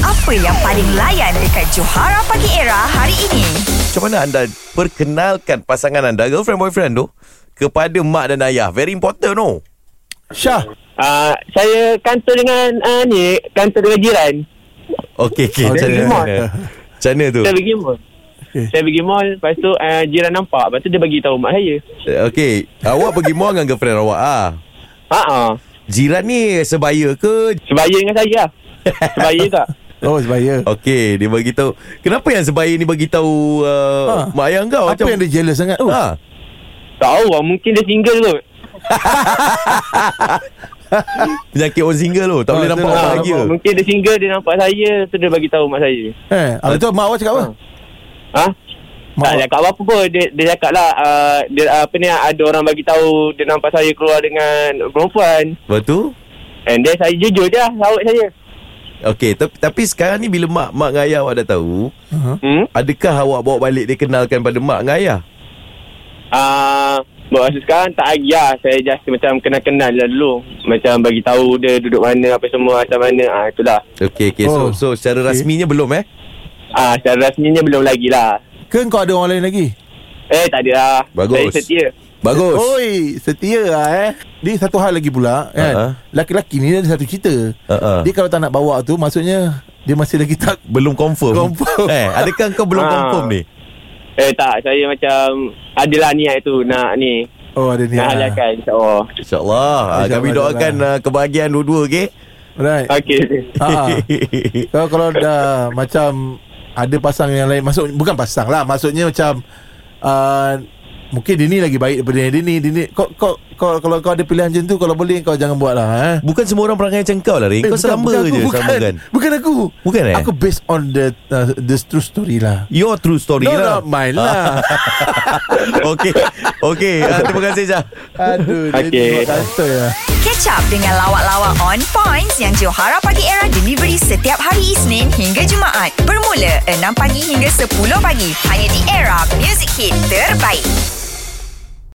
Apa yang paling layan dekat Johara Pagi Era hari ini? Macam mana anda perkenalkan pasangan anda, girlfriend boyfriend tu kepada mak dan ayah? Very important no. Syah Uh, saya kantor dengan uh, ni, kantor dengan jiran. Okey okey. Oh, Macam dia mana? remote. Macam mana tu? Saya pergi mall. Okey. Saya pergi mall, lepas tu uh, jiran nampak, lepas tu dia bagi tahu mak saya. Okey, awak pergi mall dengan girlfriend awak ah. Ha ah. Jiran ni sebaya ke? Sebaya dengan saya lah. Sebaya tak? Oh sebaya Okey, dia bagi tahu. Kenapa yang sebaya ni bagi tahu uh, Ha. mak ayah kau Apa yang dia oh. jealous sangat tu Ha. Tak tahu lah, mungkin dia single kot. Penyakit orang single tu, tak Ha, boleh nampak tu orang lah. bahagia. Mungkin dia single, dia nampak saya, tu dia bagi tahu mak saya. Eh Habis tu mak awak cakap apa Ha? Mak Tak awak- cakap apa-apa pun. Dia, dia cakap lah, uh, dia, uh, apa ni, ada orang bagi tahu dia nampak saya keluar dengan perempuan. Lepas tu, And then saya jujur je lah, sawat saya. okey, tapi, tapi sekarang ni bila mak mak dengan ayah awak dah tahu, Ha. Hmm? adakah awak bawa balik dia kenalkan pada mak dengan ayah? Ah, uh, masa sekarang tak lagi lah. Saya just macam kenal-kenal lah dulu. Macam bagi tahu dia duduk mana, apa semua, macam mana. Ah, itulah. Okey, okey. Oh. So, so secara Okey. rasminya belum eh? Ah, secara rasminya belum lagi lah. Ke kau ada orang lain lagi Eh, tak ada lah. Bagus. Saya setia. Bagus. Oh, Oi Setia lah eh Ni satu hal lagi pula Ha, kan ha. Laki-laki ni ada satu cerita Ha, ha. Dia kalau tak nak bawa tu Maksudnya Dia masih lagi tak Belum confirm. Confirm. Eh, adakah kau belum Ah. confirm ni? Eh, tak. Saya macam adalah niat tu nak ni. Oh ada ni Nak Oh, halalkan, insyaAllah. InsyaAllah. Ah, InsyaAllah, Kami doakan insyaAllah. ah, kebahagiaan dua-dua, okey? Right Okey. ha. Kalau kalau dah macam ada pasangan yang lain masuk bukan pasang lah maksudnya macam uh, mungkin dia ni lagi baik daripada dia ni dia ni kau kau, kau kalau kau ada pilihan macam tu kalau boleh kau jangan buat lah eh. Bukan semua orang perangai macam kau lah, Ring. Eh, Kau sama bukan je aku, bukan, samakan. Bukan aku Bukan, eh? Aku based on the uh, the true story lah Your true story No, lah. not mine lah okey. Okey. Ah, terima kasih, Syah. Aduh Dia Okey. kata ya Catch up dengan lawak-lawak on points yang Johara Pagi Era delivery setiap hari Isnin hingga Jumaat. Bermula 6 pagi hingga 10 pagi. Hanya di Era Music Hit Terbaik.